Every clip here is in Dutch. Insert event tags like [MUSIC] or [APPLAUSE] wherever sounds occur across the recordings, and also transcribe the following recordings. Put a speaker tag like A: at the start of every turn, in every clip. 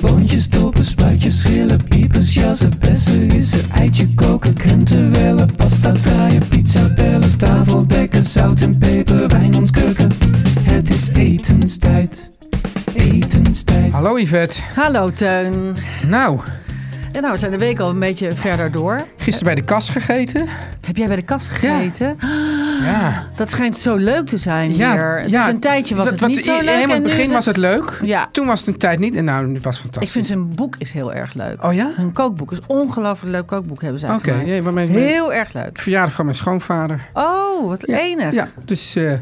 A: Boontjes, dopen, spuitjes, schillen, piepers, jassen, bessen, rissen, eitje koken, krenten wellen, pasta draaien, pizza bellen, tafel dekken, zout en peper, wijn ontkurken. Het is etenstijd, etenstijd.
B: Hallo Yvette.
C: Hallo Teun.
B: Nou,
C: En nou, we zijn de week al een beetje verder door.
B: gisteren bij de kas gegeten.
C: Heb jij bij de kast gegeten?
B: Ja.
C: Dat schijnt zo leuk te zijn hier. een tijdje was
B: dat-
C: het
B: wat-
C: niet zo
B: i-
C: leuk.
B: Helemaal in
C: en
B: het
C: nu
B: begin
C: is
B: was het leuk.
C: Ja.
B: Toen was het een tijd niet. En nou, het was
C: Ik
B: fantastisch.
C: vind zijn boek is heel erg leuk.
B: Oh ja?
C: Hun kookboek is ongelooflijk leuk kookboek hebben zij
B: Oké,
C: gemaakt.
B: nee, maar mijn-
C: Heel erg leuk.
B: Verjaardag van mijn schoonvader.
C: Oh, wat
B: Ja,
C: enig.
B: Ja, dus eh,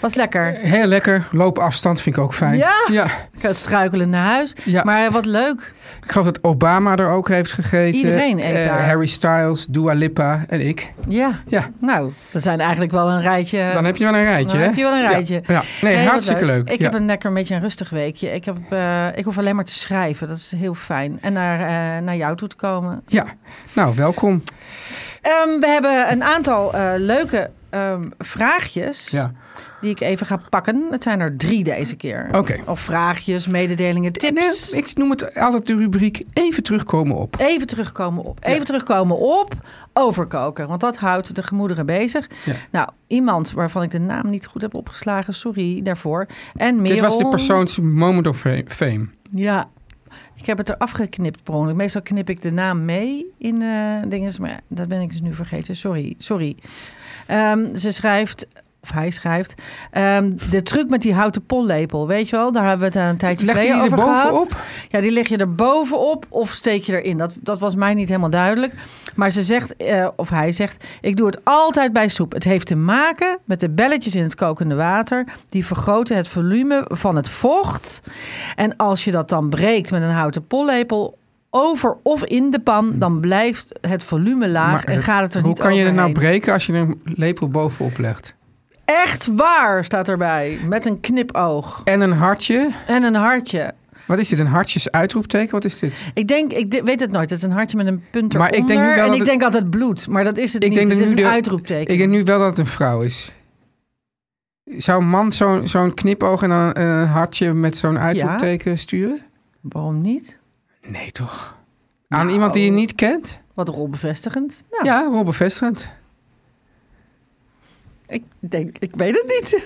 C: Was lekker.
B: heel lekker. Loopafstand vind ik ook fijn.
C: Ja?
B: ja.
C: Ik had struikelen naar huis.
B: Ja.
C: Maar wat leuk.
B: Ik geloof dat Obama er ook heeft gegeten.
C: Iedereen eet
B: Eh,
C: daar.
B: Harry Styles, Dua Lipa en ik.
C: Ja.
B: Ja.
C: Nou, dat zijn eigenlijk wel een rijtje.
B: Dan heb je wel een rijtje,
C: Eh, Dan
B: hè?
C: heb je wel een
B: Ja,
C: rijtje.
B: Ja. Nee,
C: wat
B: hartstikke leuk.
C: Ik
B: Ja.
C: heb een lekker een beetje een rustig weekje. Ik, heb, eh, ik hoef alleen maar te schrijven. Dat is heel fijn. En naar, eh, naar jou toe te komen.
B: Ja. Nou, welkom.
C: Ehm, we hebben een aantal eh, leuke ehm, vraagjes
B: Ja.
C: die ik even ga pakken. Het zijn er drie deze keer.
B: Oké.
C: Of vraagjes, mededelingen, tips.
B: Nee, ik noem het altijd de rubriek even terugkomen op.
C: Even terugkomen op. Even terugkomen op overkoken. Want dat houdt de gemoederen bezig.
B: Ja.
C: Nou, iemand waarvan ik de naam niet goed heb opgeslagen. Sorry daarvoor. En Merel.
B: Dit was de persoons moment of fa- fame.
C: Ja. Ik heb het eraf geknipt per ongeluk. Meestal knip ik de naam mee in eh dingen. Maar ja, dat ben ik dus nu vergeten. Sorry, sorry. Ehm, ze schrijft, of hij schrijft... ehm, de truc met die houten pollepel, weet je wel? Daar hebben we het een tijdje
B: Legt
C: geleden
B: hij die er
C: over gehad.
B: bovenop?
C: Ja, die leg je er bovenop of steek je erin. Dat, dat was mij niet helemaal duidelijk. Maar ze zegt, eh, of hij zegt, ik doe het altijd bij soep. Het heeft te maken met de belletjes in het kokende water. Die vergroten het volume van het vocht. En als je dat dan breekt met een houten pollepel over of in de pan, dan blijft het volume laag en gaat het er
B: eh, hoe
C: niet
B: kan je er nou
C: overheen.
B: breken als je er een lepel bovenop legt?
C: Echt waar staat erbij, met een knipoog
B: En een hartje.
C: en een hartje.
B: Wat is dit? Een hartjes uitroepteken? Wat is dit?
C: Ik denk, ik de- weet het nooit. Het is een hartje met een punt eronder.
B: Maar ik denk nu wel
C: en
B: dat
C: ik
B: het-
C: denk altijd bloed. Maar dat is het niet.
B: dat
C: het is
B: nu
C: een
B: de-
C: uitroepteken.
B: Ik denk nu wel dat het een vrouw is. Zou een man zo'n zo'n knipoog en dan een, een hartje met zo'n uitroepteken sturen?
C: Waarom niet?
B: Nee, toch? Aan
C: Nou.
B: iemand die je niet kent?
C: Wat rolbevestigend. Nou,
B: Ja, Rob bevestigend.
C: ik denk, ik weet het niet.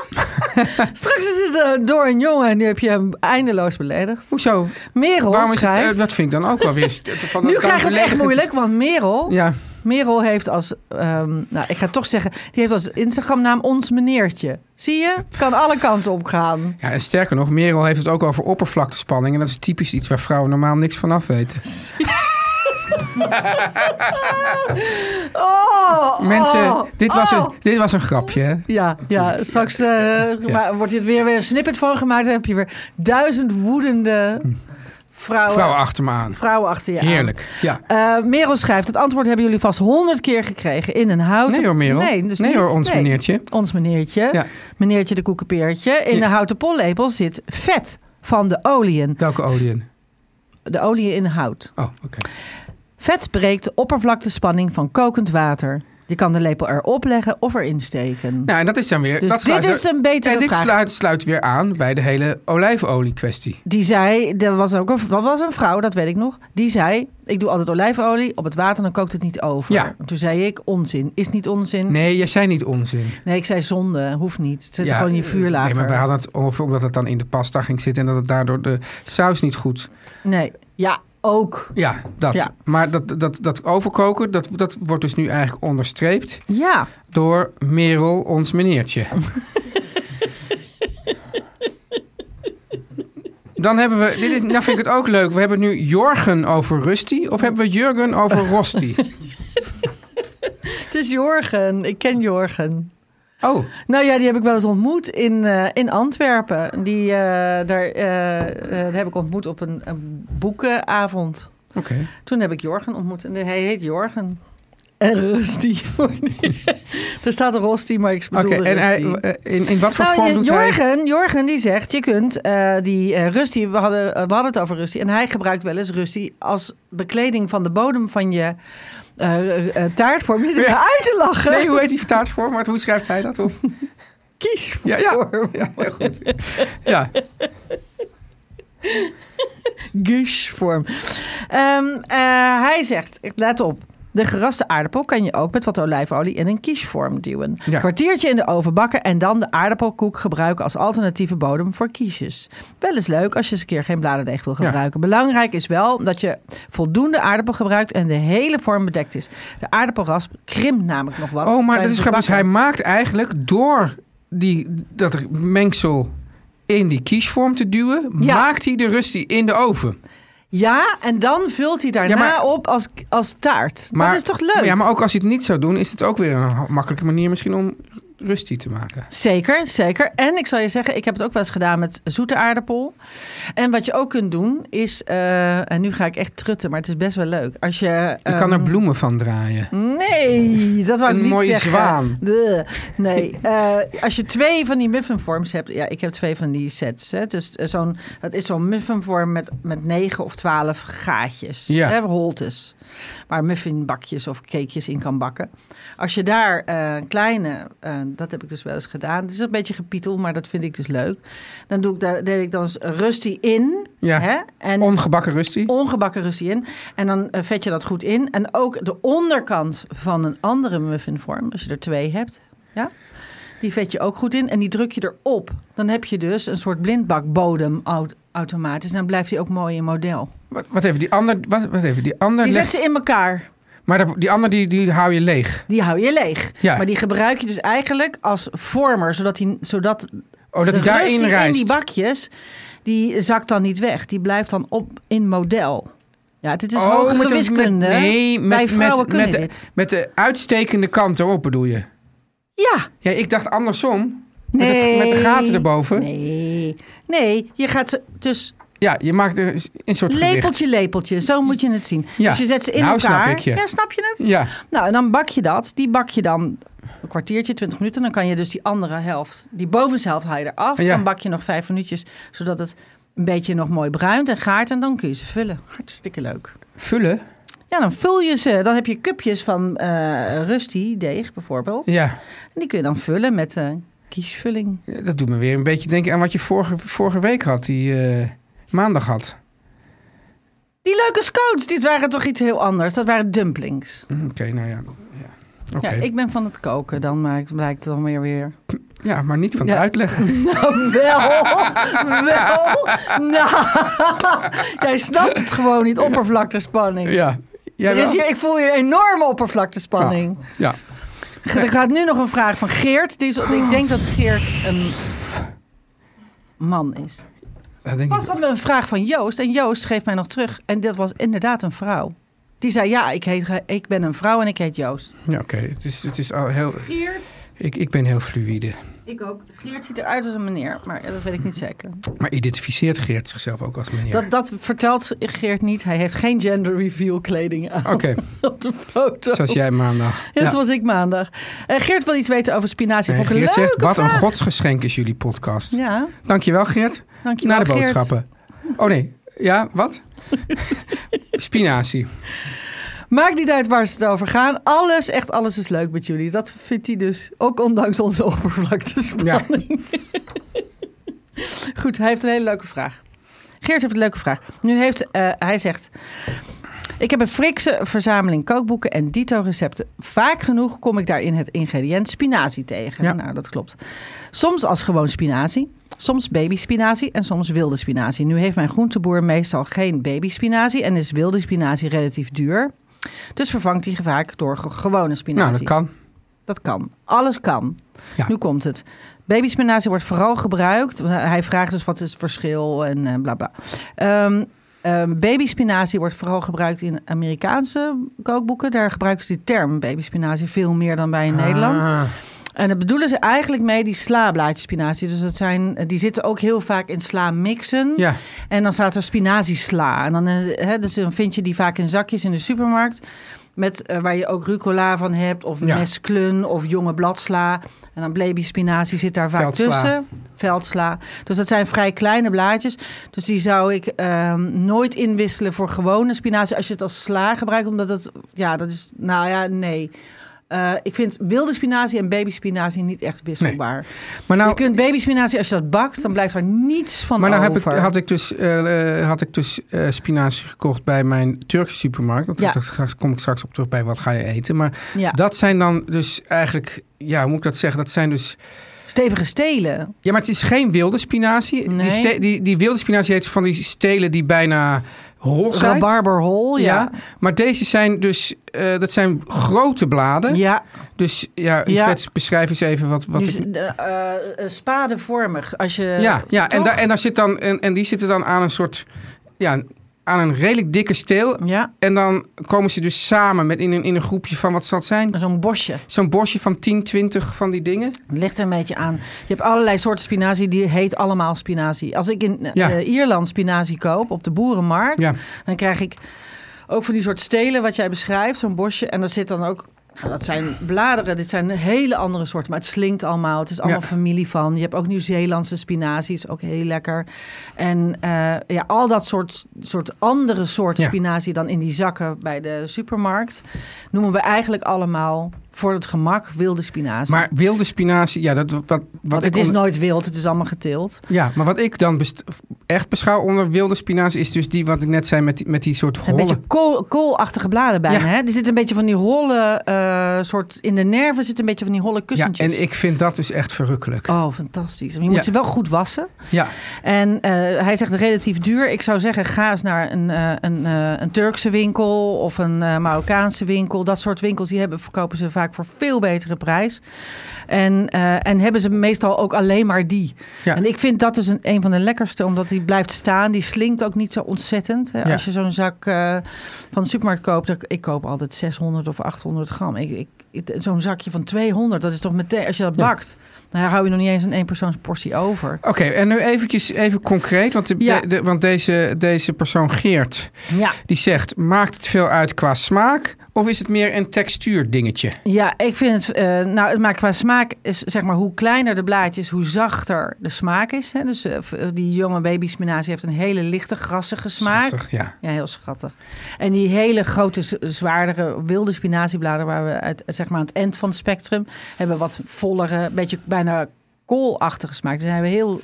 C: [LAUGHS] Straks is het eh, door een jongen en nu heb je hem eindeloos beledigd.
B: Hoezo?
C: Merel
B: Waarom is het,
C: schrijft...
B: eh, dat vind ik dan ook wel
C: [LAUGHS]
B: weer... st- van-
C: nu
B: dan
C: krijg je het echt
B: beledigend.
C: moeilijk, want Merel,
B: Ja,
C: Merel heeft als, ehm, nou ik ga het toch zeggen, die heeft als Instagramnaam ons meneertje. Zie je? Kan alle kanten op gaan.
B: Ja, en sterker nog, Merel heeft het ook over oppervlaktespanning. En dat is typisch iets waar vrouwen normaal niks van af weten.
C: Oh, oh,
B: Mensen, dit was,
C: oh.
B: een, dit was een grapje, hè?
C: Ja, ja straks eh, maar wordt dit weer, weer een snippet van gemaakt. Dan heb je weer duizend woedende vrouwen,
B: Vrouwen achter me aan.
C: vrouwen achter je aan.
B: Heerlijk. Ja.
C: Eh, Merel schrijft, het antwoord hebben jullie vast honderd keer gekregen in een houten...
B: Nee hoor, Merel.
C: Nee, dus
B: Nee
C: niet.
B: hoor, ons meneertje.
C: Ons meneertje.
B: Ja.
C: Meneertje de koekenpeertje. In
B: Ja.
C: de houten pollepel zit vet van de oliën.
B: Welke oliën?
C: De oliën in hout.
B: Oh, oké.
C: Vet breekt de oppervlaktespanning van kokend water. Je kan de lepel erop leggen of erin steken.
B: Nou, en dat is dan weer.
C: Dus
B: dat sluit
C: dit is
B: er-
C: een betere
B: En dit
C: vraag.
B: sluit, sluit weer aan bij de hele olijfolie-kwestie.
C: Die zei, er was ook een, wat was een vrouw, dat weet ik nog. Die zei, ik doe altijd olijfolie op het water, dan kookt het niet over.
B: Ja.
C: Toen zei ik, onzin. Is niet onzin. Nee,
B: Nee, jij zei niet onzin.
C: ik zei zonde, hoeft niet. Het zit
B: Ja,
C: gewoon in je
B: eh,
C: vuur lager.
B: Nee, maar wij hadden het over omdat het dan in de pasta ging zitten en dat het daardoor de saus niet goed.
C: Nee. ja, ook.
B: Ja, dat.
C: Ja.
B: Maar dat, dat, dat overkoken, dat, dat wordt dus nu eigenlijk onderstreept
C: Ja,
B: door Merel, ons meneertje. Dan hebben we, dit is, nou vind ik het ook leuk, we hebben nu Jorgen over Rusty of hebben we Jurgen over Rosti?
C: het is Jorgen. Ik ken Jorgen.
B: Oh,
C: Nou ja, die heb ik wel eens ontmoet in, eh, in Antwerpen. Die, eh, daar, eh, eh, daar heb ik ontmoet op een, een boekenavond.
B: oké.
C: Toen heb ik Jorgen ontmoet. En hij heet Jorgen. En Rusty. [LAUGHS] er staat een Rosti, maar ik
B: Oké,
C: bedoelde
B: en hij,
C: Rusty.
B: eh, in, in wat voor
C: Nou,
B: vorm
C: je-
B: doet hij...
C: Jorgen, Jorgen die zegt, je kunt eh, die eh Rusty, we hadden, we hadden het over Rusty. En hij gebruikt wel eens Rusty als bekleding van de bodem van je eh, eh, taartvorm. Je zit me uit te lachen.
B: Nee, hoe heet die taartvorm? Maar hoe schrijft hij dat? Of?
C: Kies
B: Ja, ja, ja, heel goed. Ja,
C: gushvorm. Ehm eh, hij zegt, let op. De geraste aardappel kan je ook met wat olijfolie in een quichevorm duwen.
B: Ja.
C: Kwartiertje in de oven bakken en dan de aardappelkoek gebruiken als alternatieve bodem voor quiches. Wel eens leuk als je eens een keer geen bladerdeeg wil
B: Ja.
C: gebruiken. Belangrijk is wel dat je voldoende aardappel gebruikt en de hele vorm bedekt is. De aardappelrasp krimpt namelijk nog wat.
B: Oh, maar dat
C: tijdens
B: is
C: het
B: grappig. Dus hij
C: bakken.
B: maakt eigenlijk door die, dat er- mengsel in die kiesvorm te duwen,
C: Ja.
B: maakt hij de rustie in de oven.
C: Ja, en dan vult hij daarna
B: Ja, maar-
C: op als, als taart. dat is toch leuk?
B: Ja, maar ook als hij het niet zou doen, is het ook weer een ha- makkelijke manier misschien om rustie te maken.
C: Zeker, zeker. En ik zal je zeggen, ik heb het ook wel eens gedaan met zoete aardappel. En wat je ook kunt doen is, eh, en nu ga ik echt trutten, maar het is best wel leuk. Als je,
B: Je kan
C: Ehm,
B: er bloemen van draaien.
C: Nee, dat wou ik
B: Een
C: niet
B: mooie
C: zeggen.
B: zwaan.
C: Bleh. Nee, eh, als je twee van die muffinvorms hebt. Ja, ik heb twee van die sets. Hè, dus eh, zo'n, dat is zo'n muffinvorm met, met negen of twaalf gaatjes.
B: Ja.
C: Hè, holtes. Waar muffinbakjes of cakejes in kan bakken. Als je daar eh, een kleine, eh, dat heb ik dus wel eens gedaan. Het is een beetje gepietel, maar dat vind ik dus leuk. Dan doe ik, daar, deed ik dan eens rusty in.
B: Ja.
C: Hè, en
B: Ongebakken rustie.
C: ongebakken rustie in. En dan eh, vet je dat goed in. En ook de onderkant van een andere muffinvorm, als je er twee hebt, ja, die vet je ook goed in. En die druk je erop. Dan heb je dus een soort blindbakbodem au- automatisch. En dan blijft die ook mooi in model.
B: Wat, wat even die ander, wat, wat even die ander
C: Die
B: leg-
C: zet ze in elkaar.
B: Maar dat- die ander die, die hou je leeg.
C: Die hou je leeg.
B: Ja.
C: Maar die gebruik je dus eigenlijk als vormer, zodat, die, zodat
B: Oh, dat
C: de
B: hij daarin
C: rustie in
B: rijst.
C: die bakjes, die zakt dan niet weg. Die blijft dan op in model. Ja, dit is
B: Oh,
C: hogere
B: met de- met-
C: wiskunde.
B: nee, met,
C: Wij vrouwen
B: met,
C: kunnen
B: met, de-
C: dit.
B: met de uitstekende kant erop bedoel je.
C: Ja,
B: Ja, ik dacht andersom.
C: Nee.
B: Met, het, met de gaten erboven.
C: Nee. Nee, je gaat ze dus
B: Ja, je maakt er een soort gewicht.
C: lepeltje, lepeltje. Zo moet je het zien.
B: Ja.
C: Dus je zet ze in
B: Nou,
C: elkaar.
B: snap ik je.
C: Ja, snap je het?
B: Ja.
C: Nou, en dan bak je dat. Die bak je dan een kwartiertje, twintig minuten. Dan kan je dus die andere helft, die bovenste helft haal je eraf.
B: Ja.
C: Dan bak je nog vijf minuutjes, zodat het een beetje nog mooi bruint en gaart. En dan kun je ze vullen. Hartstikke leuk.
B: Vullen?
C: Ja, dan vul je ze. Dan heb je cupjes van eh rusty deeg bijvoorbeeld.
B: Ja.
C: En die kun je dan vullen met eh, kiesvulling.
B: Dat doet me weer een beetje denken aan wat je vorige, vorige week had, die eh, maandag had.
C: Die leuke scouts, dit waren toch iets heel anders. Dat waren dumplings.
B: Hm, Oké, nou ja. Ja, Oké.
C: Ja, ik ben van het koken, dan maakt, blijkt het dan weer weer.
B: Ja, maar niet van het
C: Ja. [LAUGHS]
B: uitleggen.
C: Nou, wel, wel. Nou, jij snapt het gewoon niet, oppervlaktespanning.
B: Ja. Jij
C: Er is
B: wel? Oh.
C: hier, ik voel hier een enorme oppervlaktespanning.
B: Ja.
C: Er gaat nu nog een vraag van Geert. Die is, ik denk dat Geert een man is.
B: Dat denk
C: Pas
B: ik.
C: hadden we een vraag van Joost en Joost schreef mij nog terug. En dat was inderdaad een vrouw. Die zei, ja, ik, heet, eh, ik ben een vrouw en ik heet Joost.
B: Ja, oké. Het is, het is al heel...
C: Geert.
B: Ik, ik ben heel fluïde.
C: Ik ook. Geert ziet eruit als een meneer, maar dat weet ik niet zeker.
B: Maar identificeert Geert zichzelf ook als meneer?
C: Dat, dat vertelt Geert niet. Hij heeft geen gender reveal kleding aan [LAUGHS]
B: Oké,
C: op de foto.
B: zoals jij maandag.
C: Ja,
B: Ja.
C: zoals ik maandag. Eh, Geert wil iets weten over spinazie.
B: Nee,
C: Vond ik een
B: Geert zegt,
C: leuke
B: wat een
C: vraag.
B: godsgeschenk is jullie podcast.
C: Ja,
B: Dankjewel Geert.
C: dankjewel
B: Naar de
C: Geert. [LAUGHS]
B: boodschappen. Oh nee, ja, wat? Spinazie.
C: Maakt niet uit waar ze het over gaan. Alles, echt alles is leuk met jullie. Dat vindt hij dus ook ondanks onze [LAUGHS] oppervlaktespanning. [LAUGHS] Goed, hij heeft een hele leuke vraag. Geert heeft een leuke vraag. Nu heeft, eh, hij zegt... Ik heb een frikse verzameling kookboeken en dito-recepten. Vaak genoeg kom ik daarin het ingrediënt spinazie tegen.
B: Ja.
C: Nou, dat klopt. Soms als gewoon spinazie, soms babyspinazie en soms wilde spinazie. Nu heeft mijn groenteboer meestal geen babyspinazie en is wilde spinazie relatief duur. Dus vervangt hij vaak door ge- gewone spinazie.
B: Nou, dat kan.
C: Dat kan. Alles kan.
B: Ja.
C: Nu komt het. Babyspinazie wordt vooral gebruikt. want Hij vraagt dus wat is het verschil en eh, bla bla. Ehm ehm, babyspinazie wordt vooral gebruikt in Amerikaanse kookboeken. Daar gebruiken ze die term babyspinazie veel meer dan wij in Nederland.
B: Ah,
C: En daar bedoelen ze eigenlijk mee die slablaadjespinazie. Dus dat zijn, eh, die zitten ook heel vaak in sla mixen.
B: ja.
C: En dan staat er spinaziesla. En dan, eh, hè, dus dan vind je die vaak in zakjes in de supermarkt. Met, eh, waar je ook rucola van hebt, of
B: Ja.
C: mesklun, of jonge bladsla. En dan babyspinazie zit daar vaak
B: Veldsla.
C: tussen. Veldsla. Dus dat zijn vrij kleine blaadjes. Dus die zou ik ehm, nooit inwisselen voor gewone spinazie. Als je het als sla gebruikt, omdat het... Ja, dat is... Nou ja, nee. Eh, ik vind wilde spinazie en babyspinazie niet echt wisselbaar.
B: Maar nou,
C: je kunt babyspinazie, als je dat bakt, dan blijft er niets van
B: maar nou heb ik,
C: over.
B: had ik dus, eh, eh, had ik dus eh, spinazie gekocht bij mijn Turkse supermarkt. Dat
C: Ja.
B: dat straks, kom ik straks op terug bij wat ga je eten. Maar
C: ja.
B: dat zijn dan dus eigenlijk, ja, hoe moet ik dat zeggen? Dat zijn dus
C: Stevige stelen.
B: Ja, maar het is geen wilde spinazie.
C: Nee.
B: Die, ste- die, die wilde spinazie heet van die stelen die bijna hol zijn.
C: Rabarberhol, ja.
B: Maar deze zijn dus, eh, dat zijn grote bladen.
C: Ja,
B: Dus ja,
C: Ja.
B: Yvette, beschrijf eens even wat... wat
C: dus,
B: het-
C: eh, eh, spadevormig. Als je,
B: ja, ja. En,
C: eh, toch?
B: daar en, daar zit dan, en, en die zitten dan aan een soort, ja, aan een redelijk dikke steel.
C: Ja,
B: En dan komen ze dus samen met in, een, in een groepje van, wat zal het zijn?
C: zo'n bosje.
B: Zo'n bosje van 10, 20 van die dingen.
C: Het ligt er een beetje aan. Je hebt allerlei soorten spinazie, die heet allemaal spinazie. Als ik in eh,
B: Ja.
C: eh, Ierland spinazie koop op de boerenmarkt,
B: Ja.
C: dan krijg ik ook van die soort stelen wat jij beschrijft, zo'n bosje. En daar zit dan ook, nou, dat zijn bladeren, dit zijn hele andere soorten, maar het slinkt allemaal. Het is allemaal
B: Ja.
C: familie van. Je hebt ook Nieuw-Zeelandse spinazie, is ook heel lekker. En eh, ja, al dat soort, soort andere soorten
B: Ja.
C: spinazie dan in die zakken bij de supermarkt, noemen we eigenlijk allemaal voor het gemak wilde spinazie.
B: Maar wilde spinazie, ja, dat, wat, wat
C: Want het
B: ik
C: is
B: onder-
C: nooit wild, het is allemaal geteeld.
B: Ja, maar wat ik dan best- echt beschouw onder wilde spinazie is dus die wat ik net zei met die, met die soort
C: Het zijn een
B: holle.
C: beetje kool, koolachtige bladen bijna.
B: Ja.
C: Hè? Er zit een beetje van die holle, eh, soort in de nerven zit een beetje van die holle
B: Ja,
C: kussentjes.
B: en ik vind dat dus echt verrukkelijk.
C: Oh, fantastisch. Maar Je
B: Ja.
C: moet ze wel goed wassen.
B: Ja,
C: En eh, hij zegt relatief duur. Ik zou zeggen, ga eens naar een, eh, een, eh, een Turkse winkel of een eh, Marokkaanse winkel. Dat soort winkels die hebben, verkopen ze vaak voor veel betere prijs. En, eh, en hebben ze meestal ook alleen maar die.
B: Ja.
C: En ik vind dat dus een, een van de lekkerste, omdat die blijft staan. Die slinkt ook niet zo ontzettend. Hè?
B: Ja.
C: Als je zo'n zak eh, van de supermarkt koopt, dan- ik koop altijd 600 of 800 gram. Ik, ik, ik- zo'n zakje van 200, dat is toch meteen, als je dat
B: Ja.
C: bakt, dan hou je nog niet eens een eenpersoonsportie over.
B: oké. en nu eventjes even concreet, want, de,
C: Ja.
B: de- de- want deze, deze persoon Geert,
C: Ja.
B: die zegt, maakt het veel uit qua smaak of is het meer een textuur dingetje?
C: Ja, ik vind het. eh, nou, het maakt qua smaak is zeg maar hoe kleiner de blaadjes, hoe zachter de smaak is. Hè? Dus eh, v- eh, die jonge babyspinazie heeft een hele lichte, grassige smaak.
B: Schattig, ja.
C: Ja, heel schattig. En die hele grote, z- zwaardere, wilde spinaziebladeren, waar we uit, zeg maar aan het eind van het spectrum hebben, wat vollere, beetje bijna koolachtige smaak. Dus hebben heel,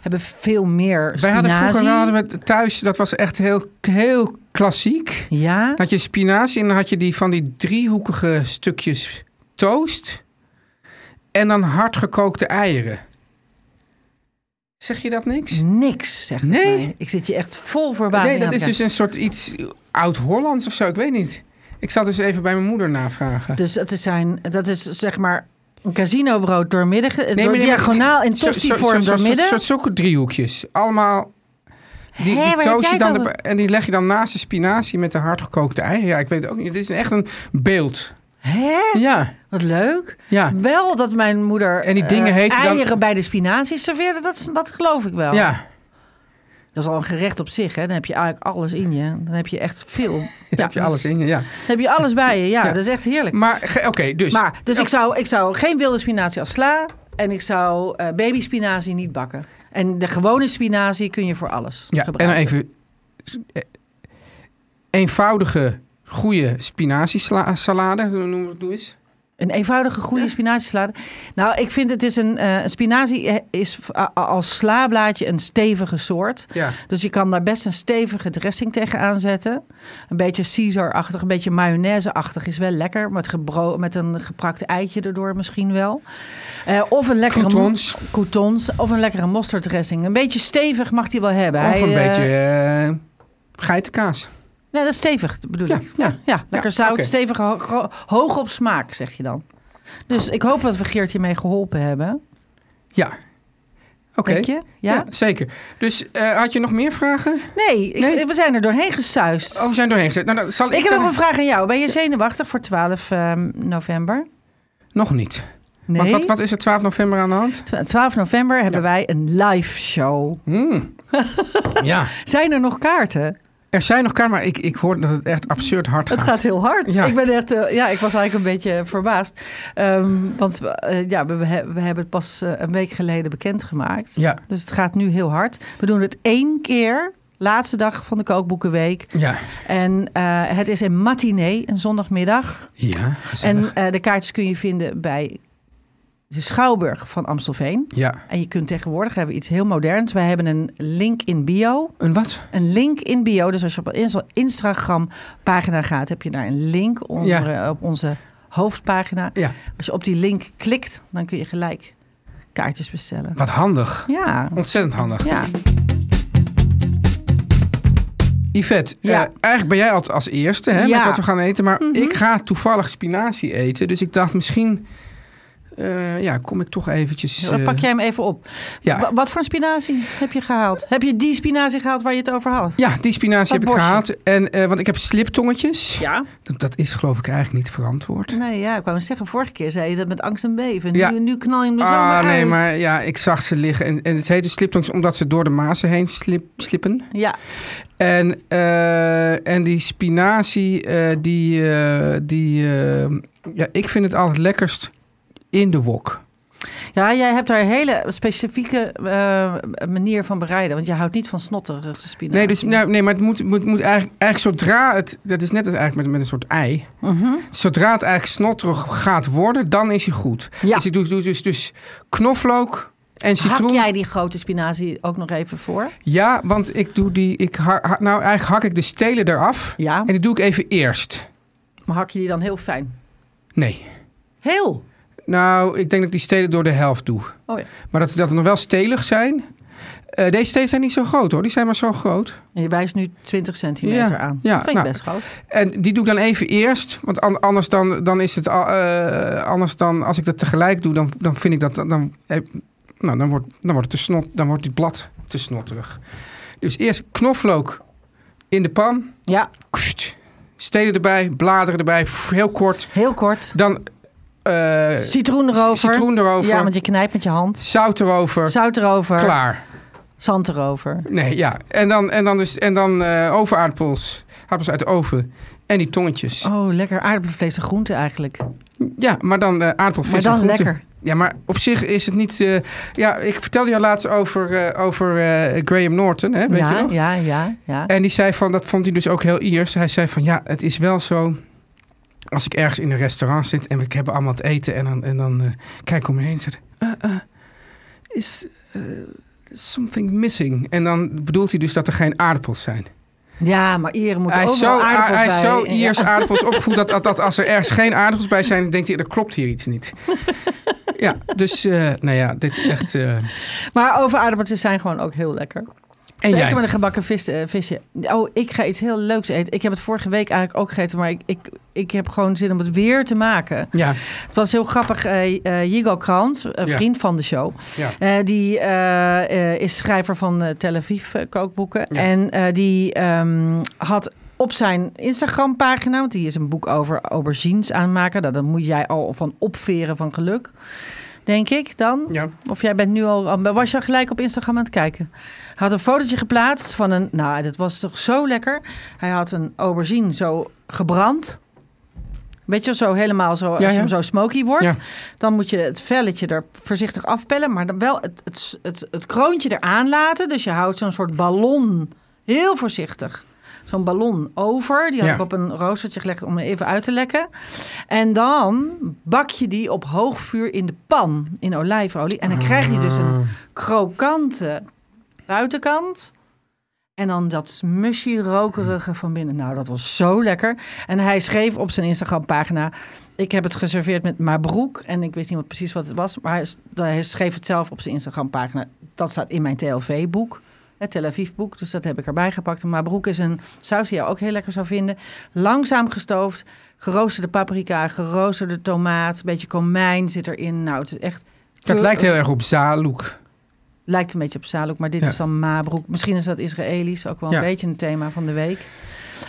C: hebben veel meer
B: Wij
C: spinazie.
B: hadden vroeger nou hadden we het thuis, dat was echt heel, heel klassiek.
C: Ja.
B: Dan had je spinazie en dan had je die van die driehoekige stukjes toast. En dan hardgekookte eieren. Zeg je dat niks?
C: Niks, zegt het
B: Nee.
C: mij. Ik zit je echt vol verbazing
B: Nee,
C: aan
B: dat
C: te
B: is
C: kijken.
B: dus een soort iets oud-Hollands of zo. Ik weet niet. Ik zal dus even bij mijn moeder navragen.
C: Dus dat is, zijn, dat is zeg maar een casinobrood doormidden, ge- door
B: maar-
C: diagonaal in
B: Zo- zo-
C: tostivorm
B: zo- zo-
C: doormidden.
B: zo- zo- Zulke driehoekjes. Allemaal. Die,
C: Hè,
B: die
C: waar heb
B: toast je
C: jij
B: dan
C: het
B: erbij- en die leg je dan naast de spinazie met de hardgekookte eieren. Ja, ik weet het ook niet. Het is echt een
C: [LAUGHS]
B: beeld.
C: Hè?
B: Ja,
C: Wat leuk.
B: ja.
C: Wel dat mijn moeder
B: En die
C: eh,
B: dingen heten dan-
C: eieren bij de spinazie serveerde, dat, is- dat geloof ik wel.
B: Ja,
C: Dat is al een gerecht op zich, hè. Dan heb je eigenlijk alles in je. Dan heb je echt
B: [LAUGHS]
C: veel. ja,
B: heb je alles in je. Ja.
C: Dan heb je alles bij je, ja.
B: Ja.
C: Dat is echt heerlijk.
B: Maar ge- oké, dus.
C: Maar, dus ik zou, ik zou geen wilde spinazie als sla en ik zou eh baby spinazie niet bakken. En de gewone spinazie kun je voor alles
B: ja, en dan
C: gebruiken.
B: even. eh, Eenvoudige goede spinaziesalade. Noem het doe eens.
C: Een eenvoudige, goede spinaziesalade. Nou, ik vind het is een... eh, een spinazie eh, is v- a- als slaablaadje een stevige soort.
B: Ja.
C: Dus je kan daar best een stevige dressing tegenaan zetten. Een beetje Caesar-achtig, een beetje mayonaise-achtig is wel lekker. Met, gebro- met een geprakt eitje erdoor misschien wel. Eh, of een lekkere...
B: Croutons.
C: Croutons. Of een lekkere mostarddressing. Een beetje stevig mag die wel hebben.
B: Of
C: Hij,
B: een
C: eh,
B: beetje eh, geitenkaas.
C: Nee, dat is stevig bedoel
B: Ja,
C: ik.
B: ja.
C: Ja, lekker zout,
B: oké.
C: stevig, ho- ho- hoog op smaak, zeg je dan. Dus
B: Ah.
C: ik hoop dat we Geert hiermee geholpen hebben.
B: Ja. Oké.
C: Denk je? Ja?
B: zeker. Dus eh, had je nog meer vragen?
C: Nee, ik-
B: Nee.
C: we zijn er doorheen gesuist.
B: Oh, we zijn doorheen gezet. Nou, dan zal ik,
C: ik heb
B: dan-
C: nog een vraag aan jou. Ben je zenuwachtig voor 12 ehm, november?
B: Nog niet.
C: Nee.
B: Want wat, wat is er 12 november aan de
C: [LAUGHS]
B: hand?
C: Twa- 12 november hebben wij een live show.
B: Hmm. ja.
C: Zijn er nog kaarten?
B: Er zijn nog kaarten, maar ik, ik hoor dat het echt absurd hard gaat.
C: Het gaat heel hard.
B: Ja.
C: Ik, ben echt, eh, ja, ik was eigenlijk een beetje verbaasd. Ehm, want we, eh, ja, we, we he- we hebben het pas eh, een week geleden bekendgemaakt.
B: Ja.
C: Dus het gaat nu heel hard. We doen het één keer. Laatste dag van de kookboekenweek.
B: Ja.
C: En eh, het is een matinee, een zondagmiddag.
B: Ja,
C: En
B: gezellig.
C: eh, de kaartjes kun je vinden bij de Schouwburg van Amstelveen.
B: ja.
C: En je kunt tegenwoordig hebben we iets heel moderns. Wij hebben een link in bio.
B: Een wat?
C: Een link in bio. Dus als je op een Insta- Instagram pagina gaat, heb je daar een link onder,
B: Ja.
C: eh, op onze hoofdpagina.
B: Ja.
C: Als je op die link klikt, dan kun je gelijk kaartjes bestellen.
B: Wat handig.
C: Ja,
B: Ontzettend handig.
C: ja.
B: Yvette,
C: Ja.
B: eh, eigenlijk ben jij altijd als eerste hè,
C: Ja. Mhm.
B: met wat we gaan eten. Maar ik ga toevallig spinazie eten. Dus ik dacht misschien eh, ja, kom ik toch eventjes...
C: Dan
B: eh,
C: pak jij hem even op.
B: ja.
C: Wa- Wat voor een spinazie heb je gehaald? Heb je die spinazie gehaald waar je het over had?
B: ja, die spinazie heb
C: Wat
B: ik
C: borstje?
B: gehaald. En, eh, want ik heb sliptongetjes.
C: Ja.
B: Dat, dat is geloof ik eigenlijk niet verantwoord.
C: Nee, ja, ik wou eens zeggen, vorige keer zei je dat met angst en beven.
B: Ja.
C: Nu, nu knal je hem er zo
B: Ah,
C: maar
B: nee,
C: uit.
B: maar ja, ik zag ze liggen. En, en het heette sliptongetjes omdat ze door de mazen heen slip, slippen.
C: Ja,
B: En, eh, en die spinazie, eh, die, eh, die eh, ja, ik vind het altijd lekkerst in de wok.
C: Ja, jij hebt daar een hele specifieke eh, manier van bereiden. Want je houdt niet van snotterige spinazie.
B: Nee, dus, nou, nee maar het moet, moet, moet eigenlijk, eigenlijk zodra het, dat is net als eigenlijk met, met een soort ei.
C: Mhm.
B: Zodra het eigenlijk snotterig gaat worden, dan is hij goed.
C: Ja.
B: Dus ik doe, doe dus, dus knoflook en
C: Hak
B: citroen.
C: jij die grote spinazie ook nog even voor?
B: Ja, want ik doe die, ik ha- ha- nou eigenlijk hak ik de stelen eraf.
C: Ja.
B: En die doe ik even eerst.
C: Maar hak je die dan heel fijn?
B: Nee.
C: Heel?
B: Nou, ik denk dat ik die stelen door de helft doe.
C: Oh ja.
B: Maar dat, dat er nog wel stelig zijn. Eh, deze stelen zijn niet zo groot hoor. Die zijn maar zo groot.
C: En je wijst nu 20 centimeter
B: Ja,
C: aan.
B: ja,
C: dat vind ik
B: nou.
C: best groot.
B: En die doe ik dan even eerst. Want an- anders dan, dan is het. al- eh, anders dan als ik dat tegelijk doe, dan, dan vind ik dat. Dan, dan, eh, nou, dan wordt, dan, wordt het te snot, dan wordt het blad te snotterig. Dus eerst knoflook in de pan.
C: Ja,
B: Kst. Stelen erbij, bladeren erbij, ff, heel kort.
C: heel kort.
B: Dan eh,
C: Citroen erover.
B: citroen erover.
C: Ja, want je knijpt met je hand.
B: zout erover.
C: Zout erover.
B: Klaar.
C: Zand erover.
B: Nee, ja. En dan, en dan, dus, en dan eh overaardappels. Aardappels uit de oven. En die tongetjes.
C: Oh, lekker. Aardappelvlees en groente eigenlijk.
B: Ja, maar dan eh aardappelvis
C: Oh. Maar
B: en
C: dan
B: groenten.
C: lekker.
B: Ja, maar op zich is het niet... eh, ja, ik vertelde jou laatst over, eh, over eh, Graham Norton, hè, weet je
C: ja,
B: nog?
C: ja, ja, ja.
B: En die zei van, dat vond hij dus ook heel Iers. Hij zei van, ja, het is wel zo... Als ik ergens in een restaurant zit en we hebben allemaal het eten... en dan, en dan eh, kijk om me heen en zeg ik, eh, eh, is eh, something missing? En dan bedoelt hij dus dat er geen aardappels zijn.
C: Ja, maar Ieren moeten
B: Hij is zo,
C: overal aardappels
B: hij is
C: bij.
B: zo
C: Ja.
B: Iers aardappels
C: [LAUGHS]
B: opgevoed dat, dat, dat als er ergens geen aardappels bij zijn, dan denkt hij, er klopt hier iets
C: [LAUGHS]
B: niet. ja, dus eh, nou ja, dit is echt... eh,
C: Maar over aardappeltjes zijn gewoon ook heel lekker.
B: en
C: Zeker
B: jij?
C: met een gebakken vis, eh, visje. Oh, ik ga iets heel leuks eten. Ik heb het vorige week eigenlijk ook gegeten, maar ik, ik, ik heb gewoon zin om het weer te maken.
B: Ja,
C: Het was heel grappig. eh eh, Yigo Krant, een
B: Ja.
C: vriend van de show,
B: ja.
C: eh, die eh, eh, is schrijver van eh, Tel Aviv eh, kookboeken.
B: Ja.
C: En eh, die ehm, had op zijn Instagram pagina, want die is een boek over aubergines aanmaken. Nou, daar moet jij al van opveren van geluk. Denk ik dan.
B: Ja.
C: Of jij bent nu al. Was je al gelijk op Instagram aan het kijken? Hij had een fotootje geplaatst van een. Nou, dat was toch zo lekker. Hij had een aubergine zo gebrand. Weet je, zo helemaal zo. Als
B: Ja,
C: je
B: ja.
C: hem zo smoky wordt,
B: Ja.
C: dan moet je het velletje er voorzichtig afpellen. Maar dan wel het, het, het, het kroontje eraan laten. Dus je houdt zo'n soort ballon heel voorzichtig. zo'n ballon over. Die had
B: Ja.
C: ik op een roostertje gelegd om even uit te lekken. En dan bak je die op hoog vuur in de pan in olijfolie. En dan krijg je dus
B: Ah.
C: een krokante buitenkant. En dan dat smushy rokerige van binnen. Nou, dat was zo lekker. En hij schreef op zijn Instagram-pagina... Ik heb het geserveerd met Mabroek. En ik wist niet wat precies wat het was. Maar hij s- hij schreef het zelf op zijn Instagram-pagina. Dat staat in mijn TLV-boek. Het Tel Aviv-boek. Dus dat heb ik erbij gepakt. En Mabroek is een saus die je ook heel lekker zou vinden. Langzaam gestoofd. Geroosterde paprika, geroosterde tomaat. Een beetje komijn zit erin. Nou, het is echt...
B: Dat lijkt
C: eh,
B: heel erg op Zalouk.
C: Lijkt een beetje op Saluk, maar dit
B: Ja.
C: is dan Mabroek. Misschien is dat Israëlisch, ook wel een
B: Ja.
C: beetje een thema van de week.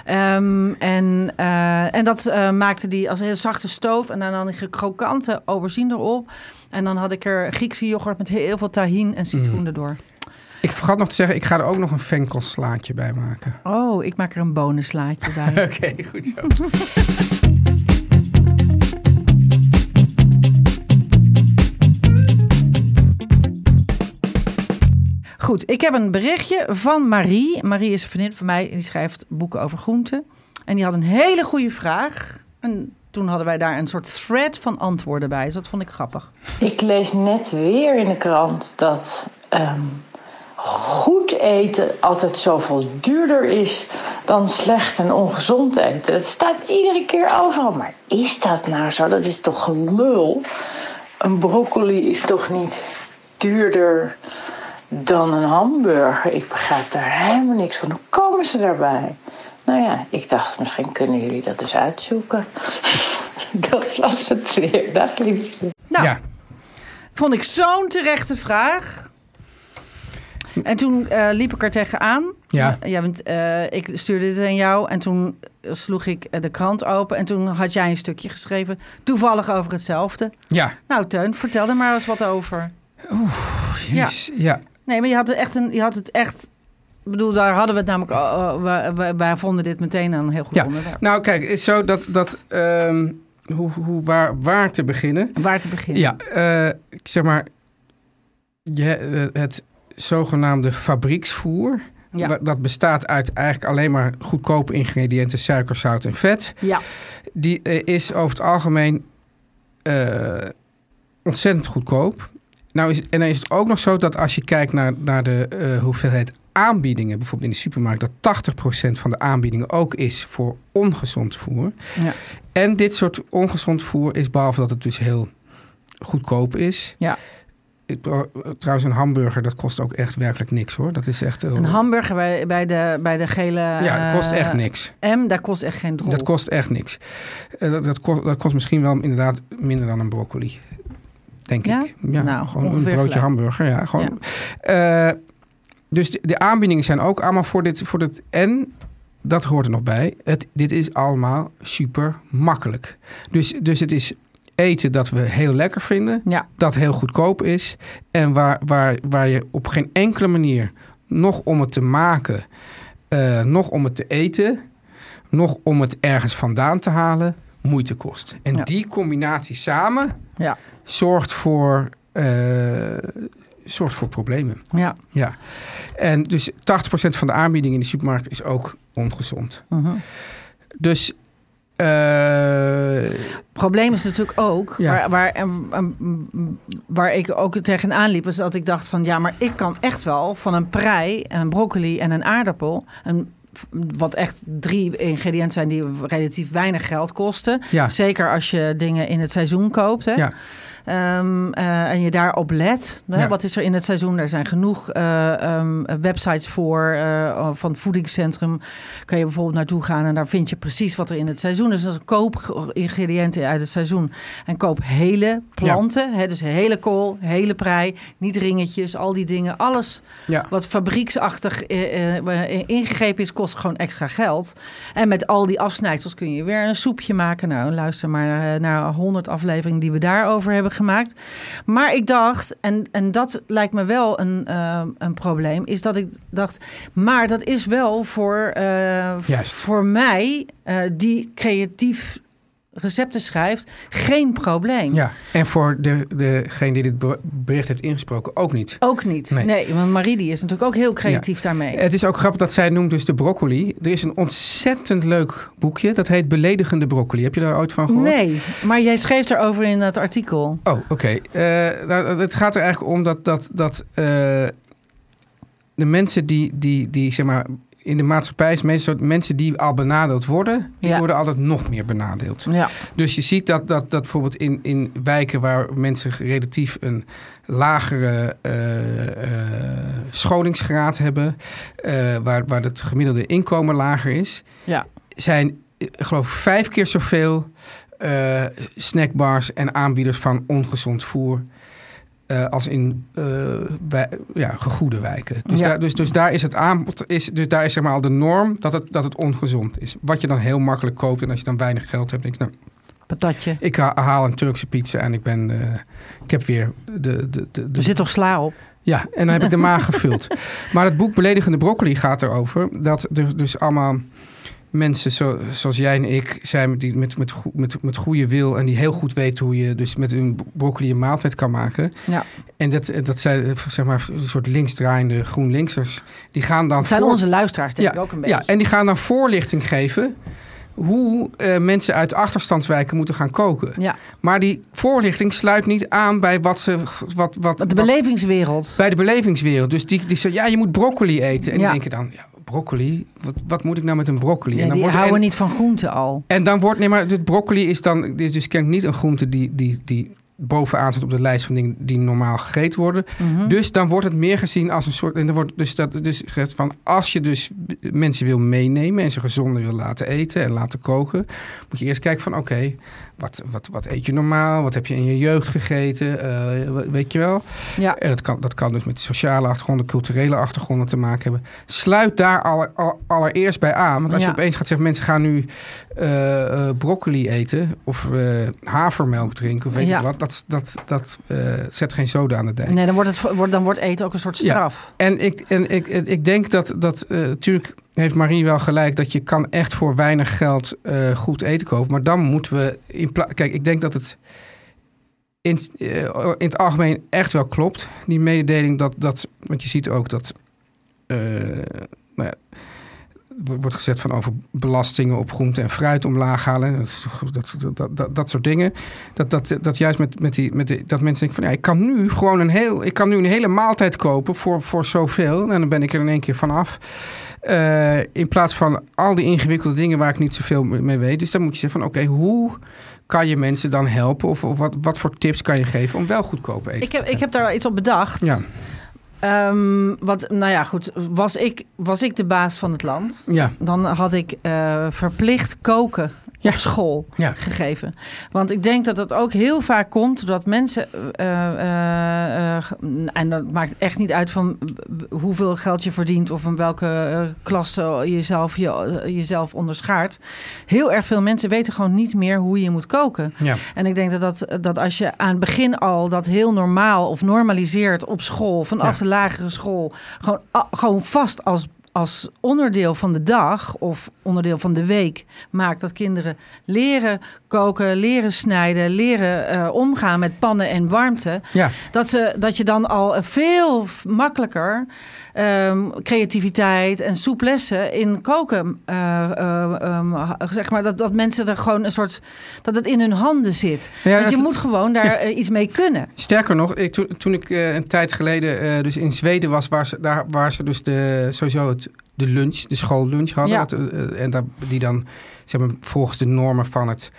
C: Ehm, en, eh, en dat eh, maakte die als een heel zachte stoof. En dan dan die krokante aubergine erop. En dan had ik er Griekse yoghurt met heel veel tahin en citroen
B: Mm.
C: erdoor.
B: Ik vergat nog te zeggen, ik ga er ook nog een venkelslaatje bij maken.
C: Oh, ik maak er een bonenslaatje bij.
B: [LAUGHS] Oké, goed zo.
C: Nou. Goed, ik heb een berichtje van Marie. Marie is een vriendin van mij en die schrijft boeken over groenten. En die had een hele goede vraag. En toen hadden wij daar een soort thread van antwoorden bij. Dus dat vond ik grappig.
D: Ik lees net weer in de krant dat ehm, goed eten altijd zoveel duurder is dan slecht en ongezond eten. Dat staat iedere keer overal. Maar is dat nou zo? Dat is toch gelul? Een broccoli is toch niet duurder dan een hamburger? Ik begrijp daar helemaal niks van. Hoe komen ze daarbij? Nou ja, ik dacht misschien kunnen jullie dat dus uitzoeken. [LAUGHS] Dat was het weer. Dat liefde.
C: Nou,
B: Ja,
C: Vond ik zo'n terechte vraag. En toen eh, liep ik er tegenaan.
B: ja.
C: Ja, want eh, ik stuurde dit aan jou en toen sloeg ik eh, de krant open. En toen had jij een stukje geschreven, toevallig over hetzelfde.
B: ja.
C: Nou, Teun, vertel er maar eens wat over. Ja.
B: Jezus, ja.
C: Nee, maar je had, er echt een, je had het echt... Ik bedoel, daar hadden we het namelijk... eh, eh, wij- wij, wij vonden dit meteen een heel goed
B: Ja.
C: onderwerp.
B: Nou, kijk, het is zo dat. dat ehm, hoe, hoe, waar, waar te beginnen?
C: Waar te beginnen?
B: Ja, eh, ik zeg maar. Je, eh, het zogenaamde fabrieksvoer.
C: Ja.
B: Dat, dat bestaat uit eigenlijk alleen maar goedkope ingrediënten: suiker, zout en vet.
C: Ja.
B: Die eh, is over het algemeen eh, ontzettend goedkoop. Nou is, en dan is het ook nog zo dat als je kijkt naar, naar de eh, hoeveelheid aanbiedingen, bijvoorbeeld in de supermarkt, dat 80% van de aanbiedingen ook is voor ongezond voer.
C: Ja.
B: En dit soort ongezond voer is, behalve dat het dus heel goedkoop is.
C: Ja.
B: Ik pro- trouwens, een hamburger, dat kost ook echt werkelijk niks hoor. Dat is echt. eh,
C: Een hamburger bij, bij, de, bij de gele...
B: ja, dat kost
C: eh,
B: echt niks.
C: M, daar kost echt geen drol.
B: Dat kost echt niks. Eh, dat, dat, kost, dat kost misschien wel inderdaad minder dan een broccoli. Denk
C: Ja?
B: ik. Ja,
C: Nou,
B: gewoon een
C: ongeveer
B: broodje
C: gelijk.
B: hamburger. Ja, gewoon. Eh, dus de, de aanbiedingen zijn ook allemaal voor dit, voor dit. En dat hoort er nog bij. Het, dit is allemaal super makkelijk. Dus, dus het is eten dat we heel lekker vinden
C: Ja.
B: dat heel goedkoop is. En waar, waar, waar je op geen enkele manier, nog om het te maken, eh, nog om het te eten, nog om het ergens vandaan te halen, moeite kost. En
C: Ja.
B: die combinatie samen
C: Ja.
B: zorgt voor, eh, zorgt voor problemen.
C: Ja.
B: Ja. En dus 80% van de aanbieding in de supermarkt is ook ongezond. Dus. eh,
C: probleem is natuurlijk ook,
B: Ja.
C: waar, waar, en- en- waar ik ook tegenaan liep, was dat ik dacht van ja, maar ik kan echt wel van een prei, een broccoli en een aardappel, een, wat echt drie ingrediënten zijn die relatief weinig geld kosten.
B: Ja.
C: Zeker als je dingen in het seizoen koopt. Hè?
B: ja.
C: Ehm, eh, en je daarop let. Hè?
B: Ja.
C: Wat is er in het seizoen? Er zijn genoeg eh, ehm, websites voor. eh, van het voedingscentrum kan je bijvoorbeeld naartoe gaan. En daar vind je precies wat er in het seizoen is. Dus koop ge- ingrediënten uit het seizoen. En koop hele planten. Hè? Dus hele kool, hele prei. Niet ringetjes, al die dingen. Alles
B: ja.
C: wat fabrieksachtig eh, eh, ingegrepen is, kost gewoon extra geld. En met al die afsnijdsels kun je weer een soepje maken. Nou, luister maar eh, naar 100 afleveringen die we daarover hebben gemaakt. Maar ik dacht, en, en dat lijkt me wel een, eh, een probleem, is dat ik dacht, maar dat is wel voor, eh,
B: Juist.
C: voor mij, eh, die creatief recepten schrijft, geen probleem.
B: Ja, en voor de, degene die dit ber- bericht heeft ingesproken ook niet.
C: Ook niet. Nee.
B: Nee.
C: want Marie die is natuurlijk ook heel creatief
B: Ja.
C: daarmee.
B: Het is ook grappig dat zij noemt dus de broccoli. Er is een ontzettend leuk boekje. Dat heet Beledigende Broccoli. Heb je daar ooit van gehoord?
C: Nee, maar jij schreef daarover in dat artikel.
B: Oh, oké. Eh, nou, het gaat er eigenlijk om dat, dat, dat eh, de mensen die, die, die zeg maar, in de maatschappij is meestal mensen die al benadeeld worden, die
C: Ja.
B: worden altijd nog meer benadeeld.
C: Ja.
B: Dus je ziet dat, dat, dat bijvoorbeeld in, in wijken waar mensen relatief een lagere eh, eh, scholingsgraad hebben, eh, waar, waar het gemiddelde inkomen lager is,
C: Ja.
B: zijn, eh, geloof ik, vijf keer zoveel eh, snackbars en aanbieders van ongezond voer. eh, als in eh, wij- ja, gegoede wijken. Dus,
C: Ja.
B: daar, dus, dus daar is het aanbod, is, dus daar is zeg maar al de norm dat het, dat het ongezond is. Wat je dan heel makkelijk koopt en als je dan weinig geld hebt, denk je, nou,
C: Patatje.
B: ik ha- haal een Turkse pizza en ik ben, eh, ik heb weer de, de, de, de
C: Er zit toch sla op?
B: ja, en dan heb ik de maag
C: [LAUGHS]
B: gevuld. Maar het boek Beledigende Broccoli gaat erover dat er dus allemaal mensen zo, zoals jij en ik zijn die met, met, goe- met, met goede wil en die heel goed weten hoe je dus met hun broccoli een maaltijd kan maken.
C: Ja.
B: En dat, eh, dat zijn zeg maar een soort linksdraaiende GroenLinksers. Die gaan dan
C: Het zijn
B: voor-
C: onze luisteraars, denk ik ook een beetje.
B: ja, en die gaan dan voorlichting geven hoe eh, mensen uit achterstandswijken moeten gaan koken.
C: Ja.
B: Maar die voorlichting sluit niet aan bij wat ze wat, wat,
C: Want de
B: wat-
C: belevingswereld.
B: bij de belevingswereld. Dus die, die zeggen, ja, je moet broccoli eten. En
C: Ja.
B: die denken dan, ja, broccoli? Wat, wat moet ik nou met een broccoli?
C: Ja,
B: en dan
C: die
B: wordt-
C: houden
B: en,
C: niet van groente al.
B: en dan wordt, nee, maar dit broccoli is dan, dit is dus kennelijk niet een groente die, die, die bovenaan zit op de lijst van dingen die normaal gegeten worden. Dus dan wordt het meer gezien als een soort, en dan wordt dus dat, dus gezegd van, als je dus mensen wil meenemen en ze gezonder wil laten eten en laten koken, moet je eerst kijken van, oké, wat, wat, wat eet je normaal? Wat heb je in je jeugd gegeten? Eh, weet je wel?
C: Ja.
B: En dat kan, dat kan dus met sociale achtergronden, culturele achtergronden te maken hebben. Sluit daar aller- aller- allereerst bij aan. Want als
C: Ja.
B: je opeens gaat zeggen, mensen gaan nu eh, eh, broccoli eten of eh, havermelk drinken of weet
C: Ja.
B: ik wat. Dat, dat, dat eh, zet geen zoden aan de dijk.
C: Nee, dan wordt, het, vo- wordt, dan wordt eten ook een soort
B: Ja.
C: straf.
B: En, ik, en ik, en ik denk dat, dat eh, natuurlijk heeft Marie wel gelijk, dat je kan echt voor weinig geld eh, goed eten kopen. Maar dan moeten we, in pla- kijk, ik denk dat het in, eh, in het algemeen echt wel klopt, die mededeling. Dat, dat, want je ziet ook dat, eh, nou ja, er wordt gezegd van over belastingen op groente en fruit omlaag halen. Dat, is- dat, dat, dat, dat soort dingen. Dat, dat, dat juist met, met die, met die, dat mensen denken van ja, ik kan nu gewoon een heel, ik kan nu een hele maaltijd kopen voor, voor zoveel. En dan ben ik er in één keer vanaf. Eh, in plaats van al die ingewikkelde dingen waar ik niet zoveel mee weet. Dus dan moet je zeggen van oké, hoe kan je mensen dan helpen? Of, of wat, wat voor tips kan je geven om wel goedkoop eten
C: Ik
B: te
C: heb, ik heb daar wel iets op bedacht.
B: Ja,
C: Ehm, wat, nou ja, goed. Was ik, was ik de baas van het land,
B: ja,
C: dan had ik eh, verplicht koken
B: Ja.
C: op school
B: ja.
C: gegeven. Want ik denk dat dat ook heel vaak komt doordat mensen. eh, eh, eh, ge- en dat maakt echt niet uit van w- hoeveel geld je verdient of in welke eh, klasse jezelf, je, eh, jezelf onderschaart. Heel erg veel mensen weten gewoon niet meer hoe je moet koken.
B: ja.
C: En ik denk dat, dat, dat als je aan het begin al dat heel normaal of normaliseert op school, vanaf
B: Ja.
C: de lagere school, gewoon, a- gewoon vast als, als onderdeel van de dag of onderdeel van de week maakt dat kinderen leren koken, leren snijden, leren eh, omgaan met pannen en warmte.
B: Ja.
C: Dat, ze, dat je dan al veel f- makkelijker ehm, creativiteit en soeplessen in koken. eh, eh, ehm, ha- zeg maar dat, dat mensen er gewoon een soort. dat het in hun handen zit.
B: Ja,
C: Want je
B: het-
C: moet gewoon daar eh, iets mee kunnen.
B: Sterker nog, ik, toen, toen ik eh, een tijd geleden eh, dus in Zweden was, waar ze, daar, waar ze dus de, sowieso het, de lunch, de schoollunch hadden.
C: Ja.
B: wat, eh, en daar, die dan zeg maar, volgens de normen van het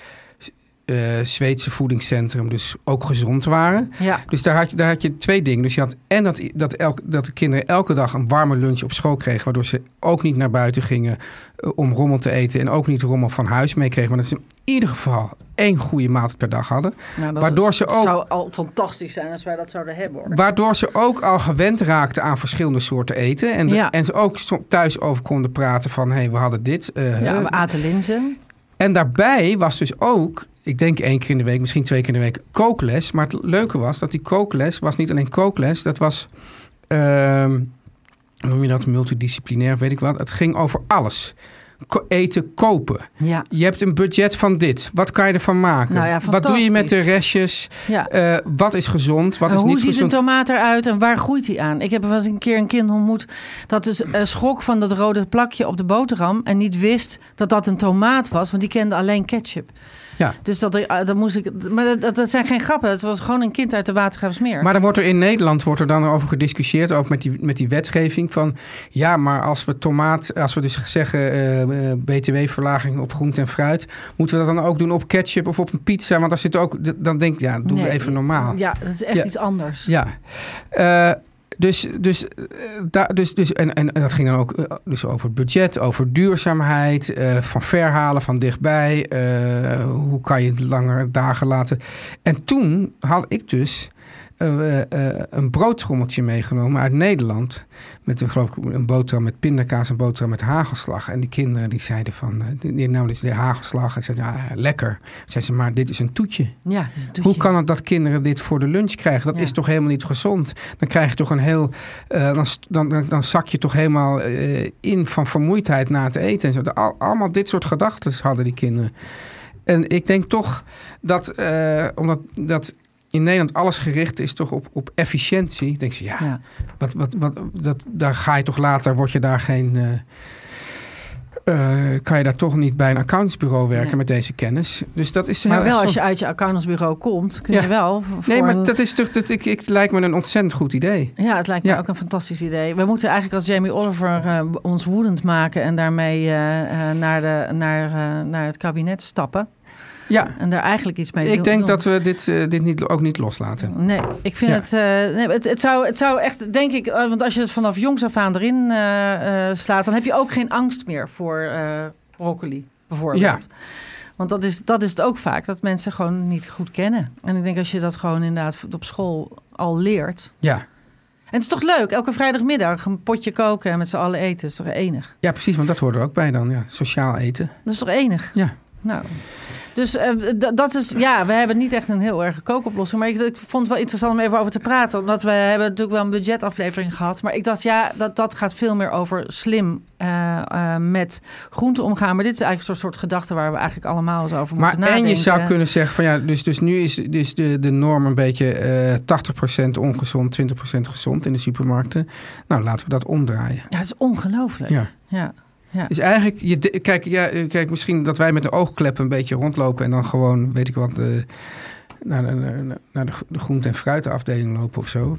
B: eh, Zweedse voedingscentrum dus ook gezond waren.
C: Ja.
B: Dus daar had, je, daar had je twee dingen. Dus je had en dat, dat, elk, dat de kinderen elke dag een warme lunch op school kregen, waardoor ze ook niet naar buiten gingen eh, om rommel te eten en ook niet rommel van huis meekregen. Maar dat ze in ieder geval één goede maaltijd per dag hadden.
C: Nou, dat
B: Waardoor
C: is-
B: ze ook-
C: zou al fantastisch zijn als wij dat zouden hebben hoor.
B: Waardoor ze ook al gewend raakten aan verschillende soorten eten. En, de-
C: Ja.
B: en ze ook som- thuis over konden praten van... hé, hey, we hadden dit. eh,
C: Ja,
B: hè.
C: we aten linzen.
B: En daarbij was dus ook... Ik denk één keer in de week, misschien twee keer in de week kookles. Maar het leuke was dat die kookles was niet alleen kookles. Dat was, ehm, hoe noem je dat, multidisciplinair, weet ik wat. Het ging over alles. ko- eten kopen.
C: Ja.
B: Je hebt een budget van dit. Wat kan je ervan maken?
C: Nou ja,
B: wat doe je met de restjes?
C: Ja.
B: Eh, wat is gezond? Wat
C: En
B: is
C: Eh, hoe
B: niet
C: ziet
B: gezond?
C: een tomaat eruit en waar groeit die aan? Ik heb wel eens een keer een kind ontmoet dat is eh, schrok van dat rode plakje op de boterham en niet wist dat dat een tomaat was, want die kende alleen ketchup.
B: Ja.
C: Dus dat, eh, dat moest ik. Maar dat- dat, dat zijn geen grappen. Het was gewoon een kind uit de Watergraafsmeer.
B: Maar dan wordt er in Nederland wordt er dan over gediscussieerd, over met die, met die wetgeving. Van ja, maar als we tomaat, als we dus zeggen eh, eh, btw-verlaging op groente en fruit, moeten we dat dan ook doen op ketchup of op een pizza? Want daar zit ook, d- dan denk ik, ja, doe
C: Nee.
B: even normaal.
C: Ja, dat is echt
B: Ja.
C: iets anders.
B: Ja. Eh, dus, dus, eh, daar- dus, dus en, en en dat ging dan ook eh, dus over het budget, over duurzaamheid, eh, van verhalen van dichtbij. eh, hoe kan je het langer dagen laten? En toen had ik dus eh, eh, een broodtrommeltje meegenomen uit Nederland. Met een, geloof ik, een boterham met pindakaas en boterham met hagelslag. En die kinderen die zeiden van, eh, die, die namen dus de hagelslag. En zeiden, ja, lekker. Zeiden ze, maar dit is een toetje.
C: Ja, dat is een
B: Hoe
C: toetje.
B: kan het dat kinderen dit voor de lunch krijgen? Dat
C: Ja.
B: is toch helemaal niet gezond? Dan krijg je toch een heel. eh, dan, st- dan, dan, dan zak je toch helemaal eh, in van vermoeidheid na het eten. En zo. De- al- allemaal dit soort gedachten hadden die kinderen. En ik denk toch dat. eh, omdat dat in Nederland alles gericht is toch op, op efficiëntie. Denk ze ja.
C: Ja.
B: Wat, wat, wat, dat, daar ga je toch later, word je daar geen. eh, eh, kan je daar toch niet bij een accountantsbureau werken
C: Nee.
B: met deze kennis? Dus dat is
C: Maar
B: heel
C: wel
B: erg
C: als
B: zonde.
C: je uit je accountantsbureau komt, kun
B: Ja.
C: je wel. v-
B: Nee,
C: voor
B: maar
C: een-
B: dat is toch, dat, ik, ik, het lijkt me een ontzettend goed idee.
C: Ja, het lijkt me
B: Ja.
C: ook een fantastisch idee. We moeten eigenlijk als Jamie Oliver eh, ons woedend maken en daarmee eh, eh, naar, de, naar, eh, naar het kabinet stappen.
B: Ja,
C: En daar eigenlijk iets mee doen.
B: ik denk
C: doen.
B: dat we dit, eh, dit niet, ook niet loslaten.
C: Nee, ik vind
B: Ja.
C: het, eh, nee, het, het, zou, het zou echt, denk ik, eh, want als je het vanaf jongs af aan erin eh, eh, slaat, dan heb je ook geen angst meer voor eh, broccoli, bijvoorbeeld. Want dat is, dat is het ook vaak, dat mensen gewoon niet goed kennen. En ik denk als je dat gewoon inderdaad op school al leert.
B: Ja.
C: En het is toch leuk, elke vrijdagmiddag een potje koken en met z'n allen eten, is toch enig?
B: ja, precies, want dat hoort er ook bij dan. Ja. Sociaal eten.
C: Dat is toch enig?
B: Ja.
C: Nou. Dus eh, d- dat is, ja, we hebben niet echt een heel erg kookoplossing. Maar ik, ik vond het wel interessant om even over te praten. Omdat we hebben natuurlijk wel een budgetaflevering gehad. Maar ik dacht, ja, dat, dat gaat veel meer over slim eh, eh, met groenten omgaan. Maar dit is eigenlijk een soort, soort gedachte waar we eigenlijk allemaal eens over
B: Maar
C: moeten nadenken.
B: en je zou kunnen zeggen van ja, dus, dus nu is, dus de, de norm een beetje eh 80% ongezond, 20% gezond in de supermarkten. Nou, laten we dat omdraaien.
C: Ja, het is ongelooflijk.
B: Ja.
C: ja.
B: Dus eigenlijk, je, de- kijk, ja, eh, kijk, misschien dat wij met de oogkleppen een beetje rondlopen en dan gewoon, weet ik wat, de- naar, de, naar- naar de, gro- de groente- en fruitenafdeling lopen of zo.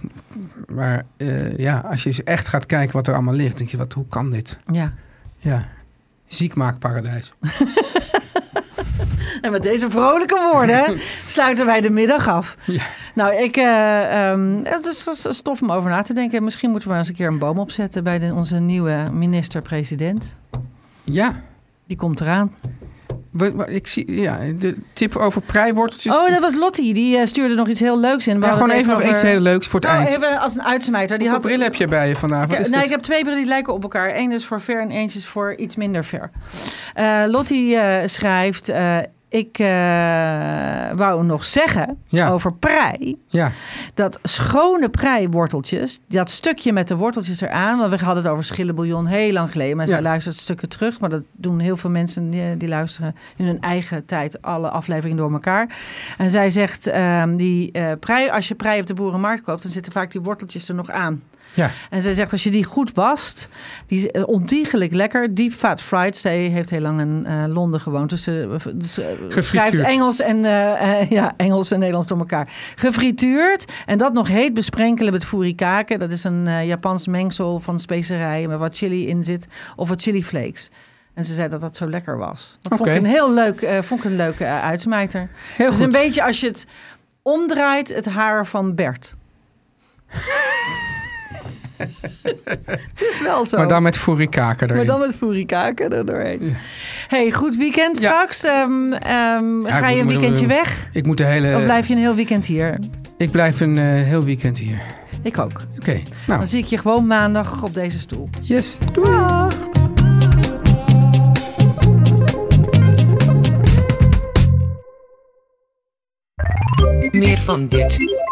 B: Maar eh, ja, als je eens echt gaat kijken wat er allemaal ligt, denk je, wat, hoe kan dit?
C: ja.
B: Ja, ziekmaakparadijs.
C: En met deze vrolijke
B: [LAUGHS]
C: woorden sluiten wij de middag af.
B: Ja.
C: Nou, ik, eh, ehm, het is het is tof om over na te denken. Misschien moeten we eens een keer een boom opzetten bij de- onze nieuwe minister-president.
B: Ja,
C: Die komt eraan.
B: wa- wa- ik zie, ja, de tip over preiworteltjes.
C: Oh, dat was Lottie. Die eh, stuurde nog iets heel leuks in. We
B: maar
C: hadden
B: gewoon
C: het
B: even nog
C: over-
B: iets heel leuks voor het
C: Oh,
B: eind.
C: even als een uitsmijter. Die
B: Hoeveel
C: had...
B: bril heb je bij je vandaag? Wat
C: Ja,
B: is
C: nee, ik
B: dit?
C: heb twee brillen die lijken op elkaar. Eén is voor ver en eentje is voor iets minder ver. Eh, Lottie eh, schrijft... eh, ik eh, wou nog zeggen
B: Ja.
C: over prei.
B: Ja,
C: dat schone preiworteltjes, dat stukje met de worteltjes eraan, want we hadden het over schillenbouillon heel lang geleden. Mensen
B: Ja.
C: luisteren het stukken terug, maar dat doen heel veel mensen die, die luisteren in hun eigen tijd alle afleveringen door elkaar. En zij zegt, ehm, die eh, prei, als je prei op de boerenmarkt koopt, dan zitten vaak die worteltjes er nog aan.
B: ja.
C: En zij zegt, als je die goed wast, die is eh, ontiegelijk lekker. Deep Fat Fried, zij heeft heel lang in eh, Londen gewoond. Dus ze eh, dus, eh, schrijft Engels en, eh, eh, ja, Engels en Nederlands door elkaar. Gefrituurd en dat nog heet besprenkelen met furikake. Dat is een eh, Japans mengsel van specerijen met wat chili in zit. Of wat chili flakes. En ze zei dat dat zo lekker was. Dat vond ik
B: Oké.
C: een heel leuk, eh, vond ik een leuke eh, uitsmijter.
B: heel
C: het is
B: goed.
C: Dus een beetje als je het omdraait, het haar van Bert. het is wel zo.
B: Maar dan met furikaken erin.
C: Maar dan met furikaken er doorheen. Hey, goed weekend
B: Ja.
C: straks. Ehm, ehm,
B: Ja, ik
C: ga
B: Eh.
C: je een
B: moet-
C: weekendje
B: moet-
C: weg?
B: Ik moet de hele...
C: Of blijf je een heel weekend hier?
B: Ik blijf een eh, heel weekend hier.
C: Ik ook.
B: Oké, nou,
C: Dan zie ik je gewoon maandag op deze stoel.
B: yes.
C: Doei!
E: Meer van dit.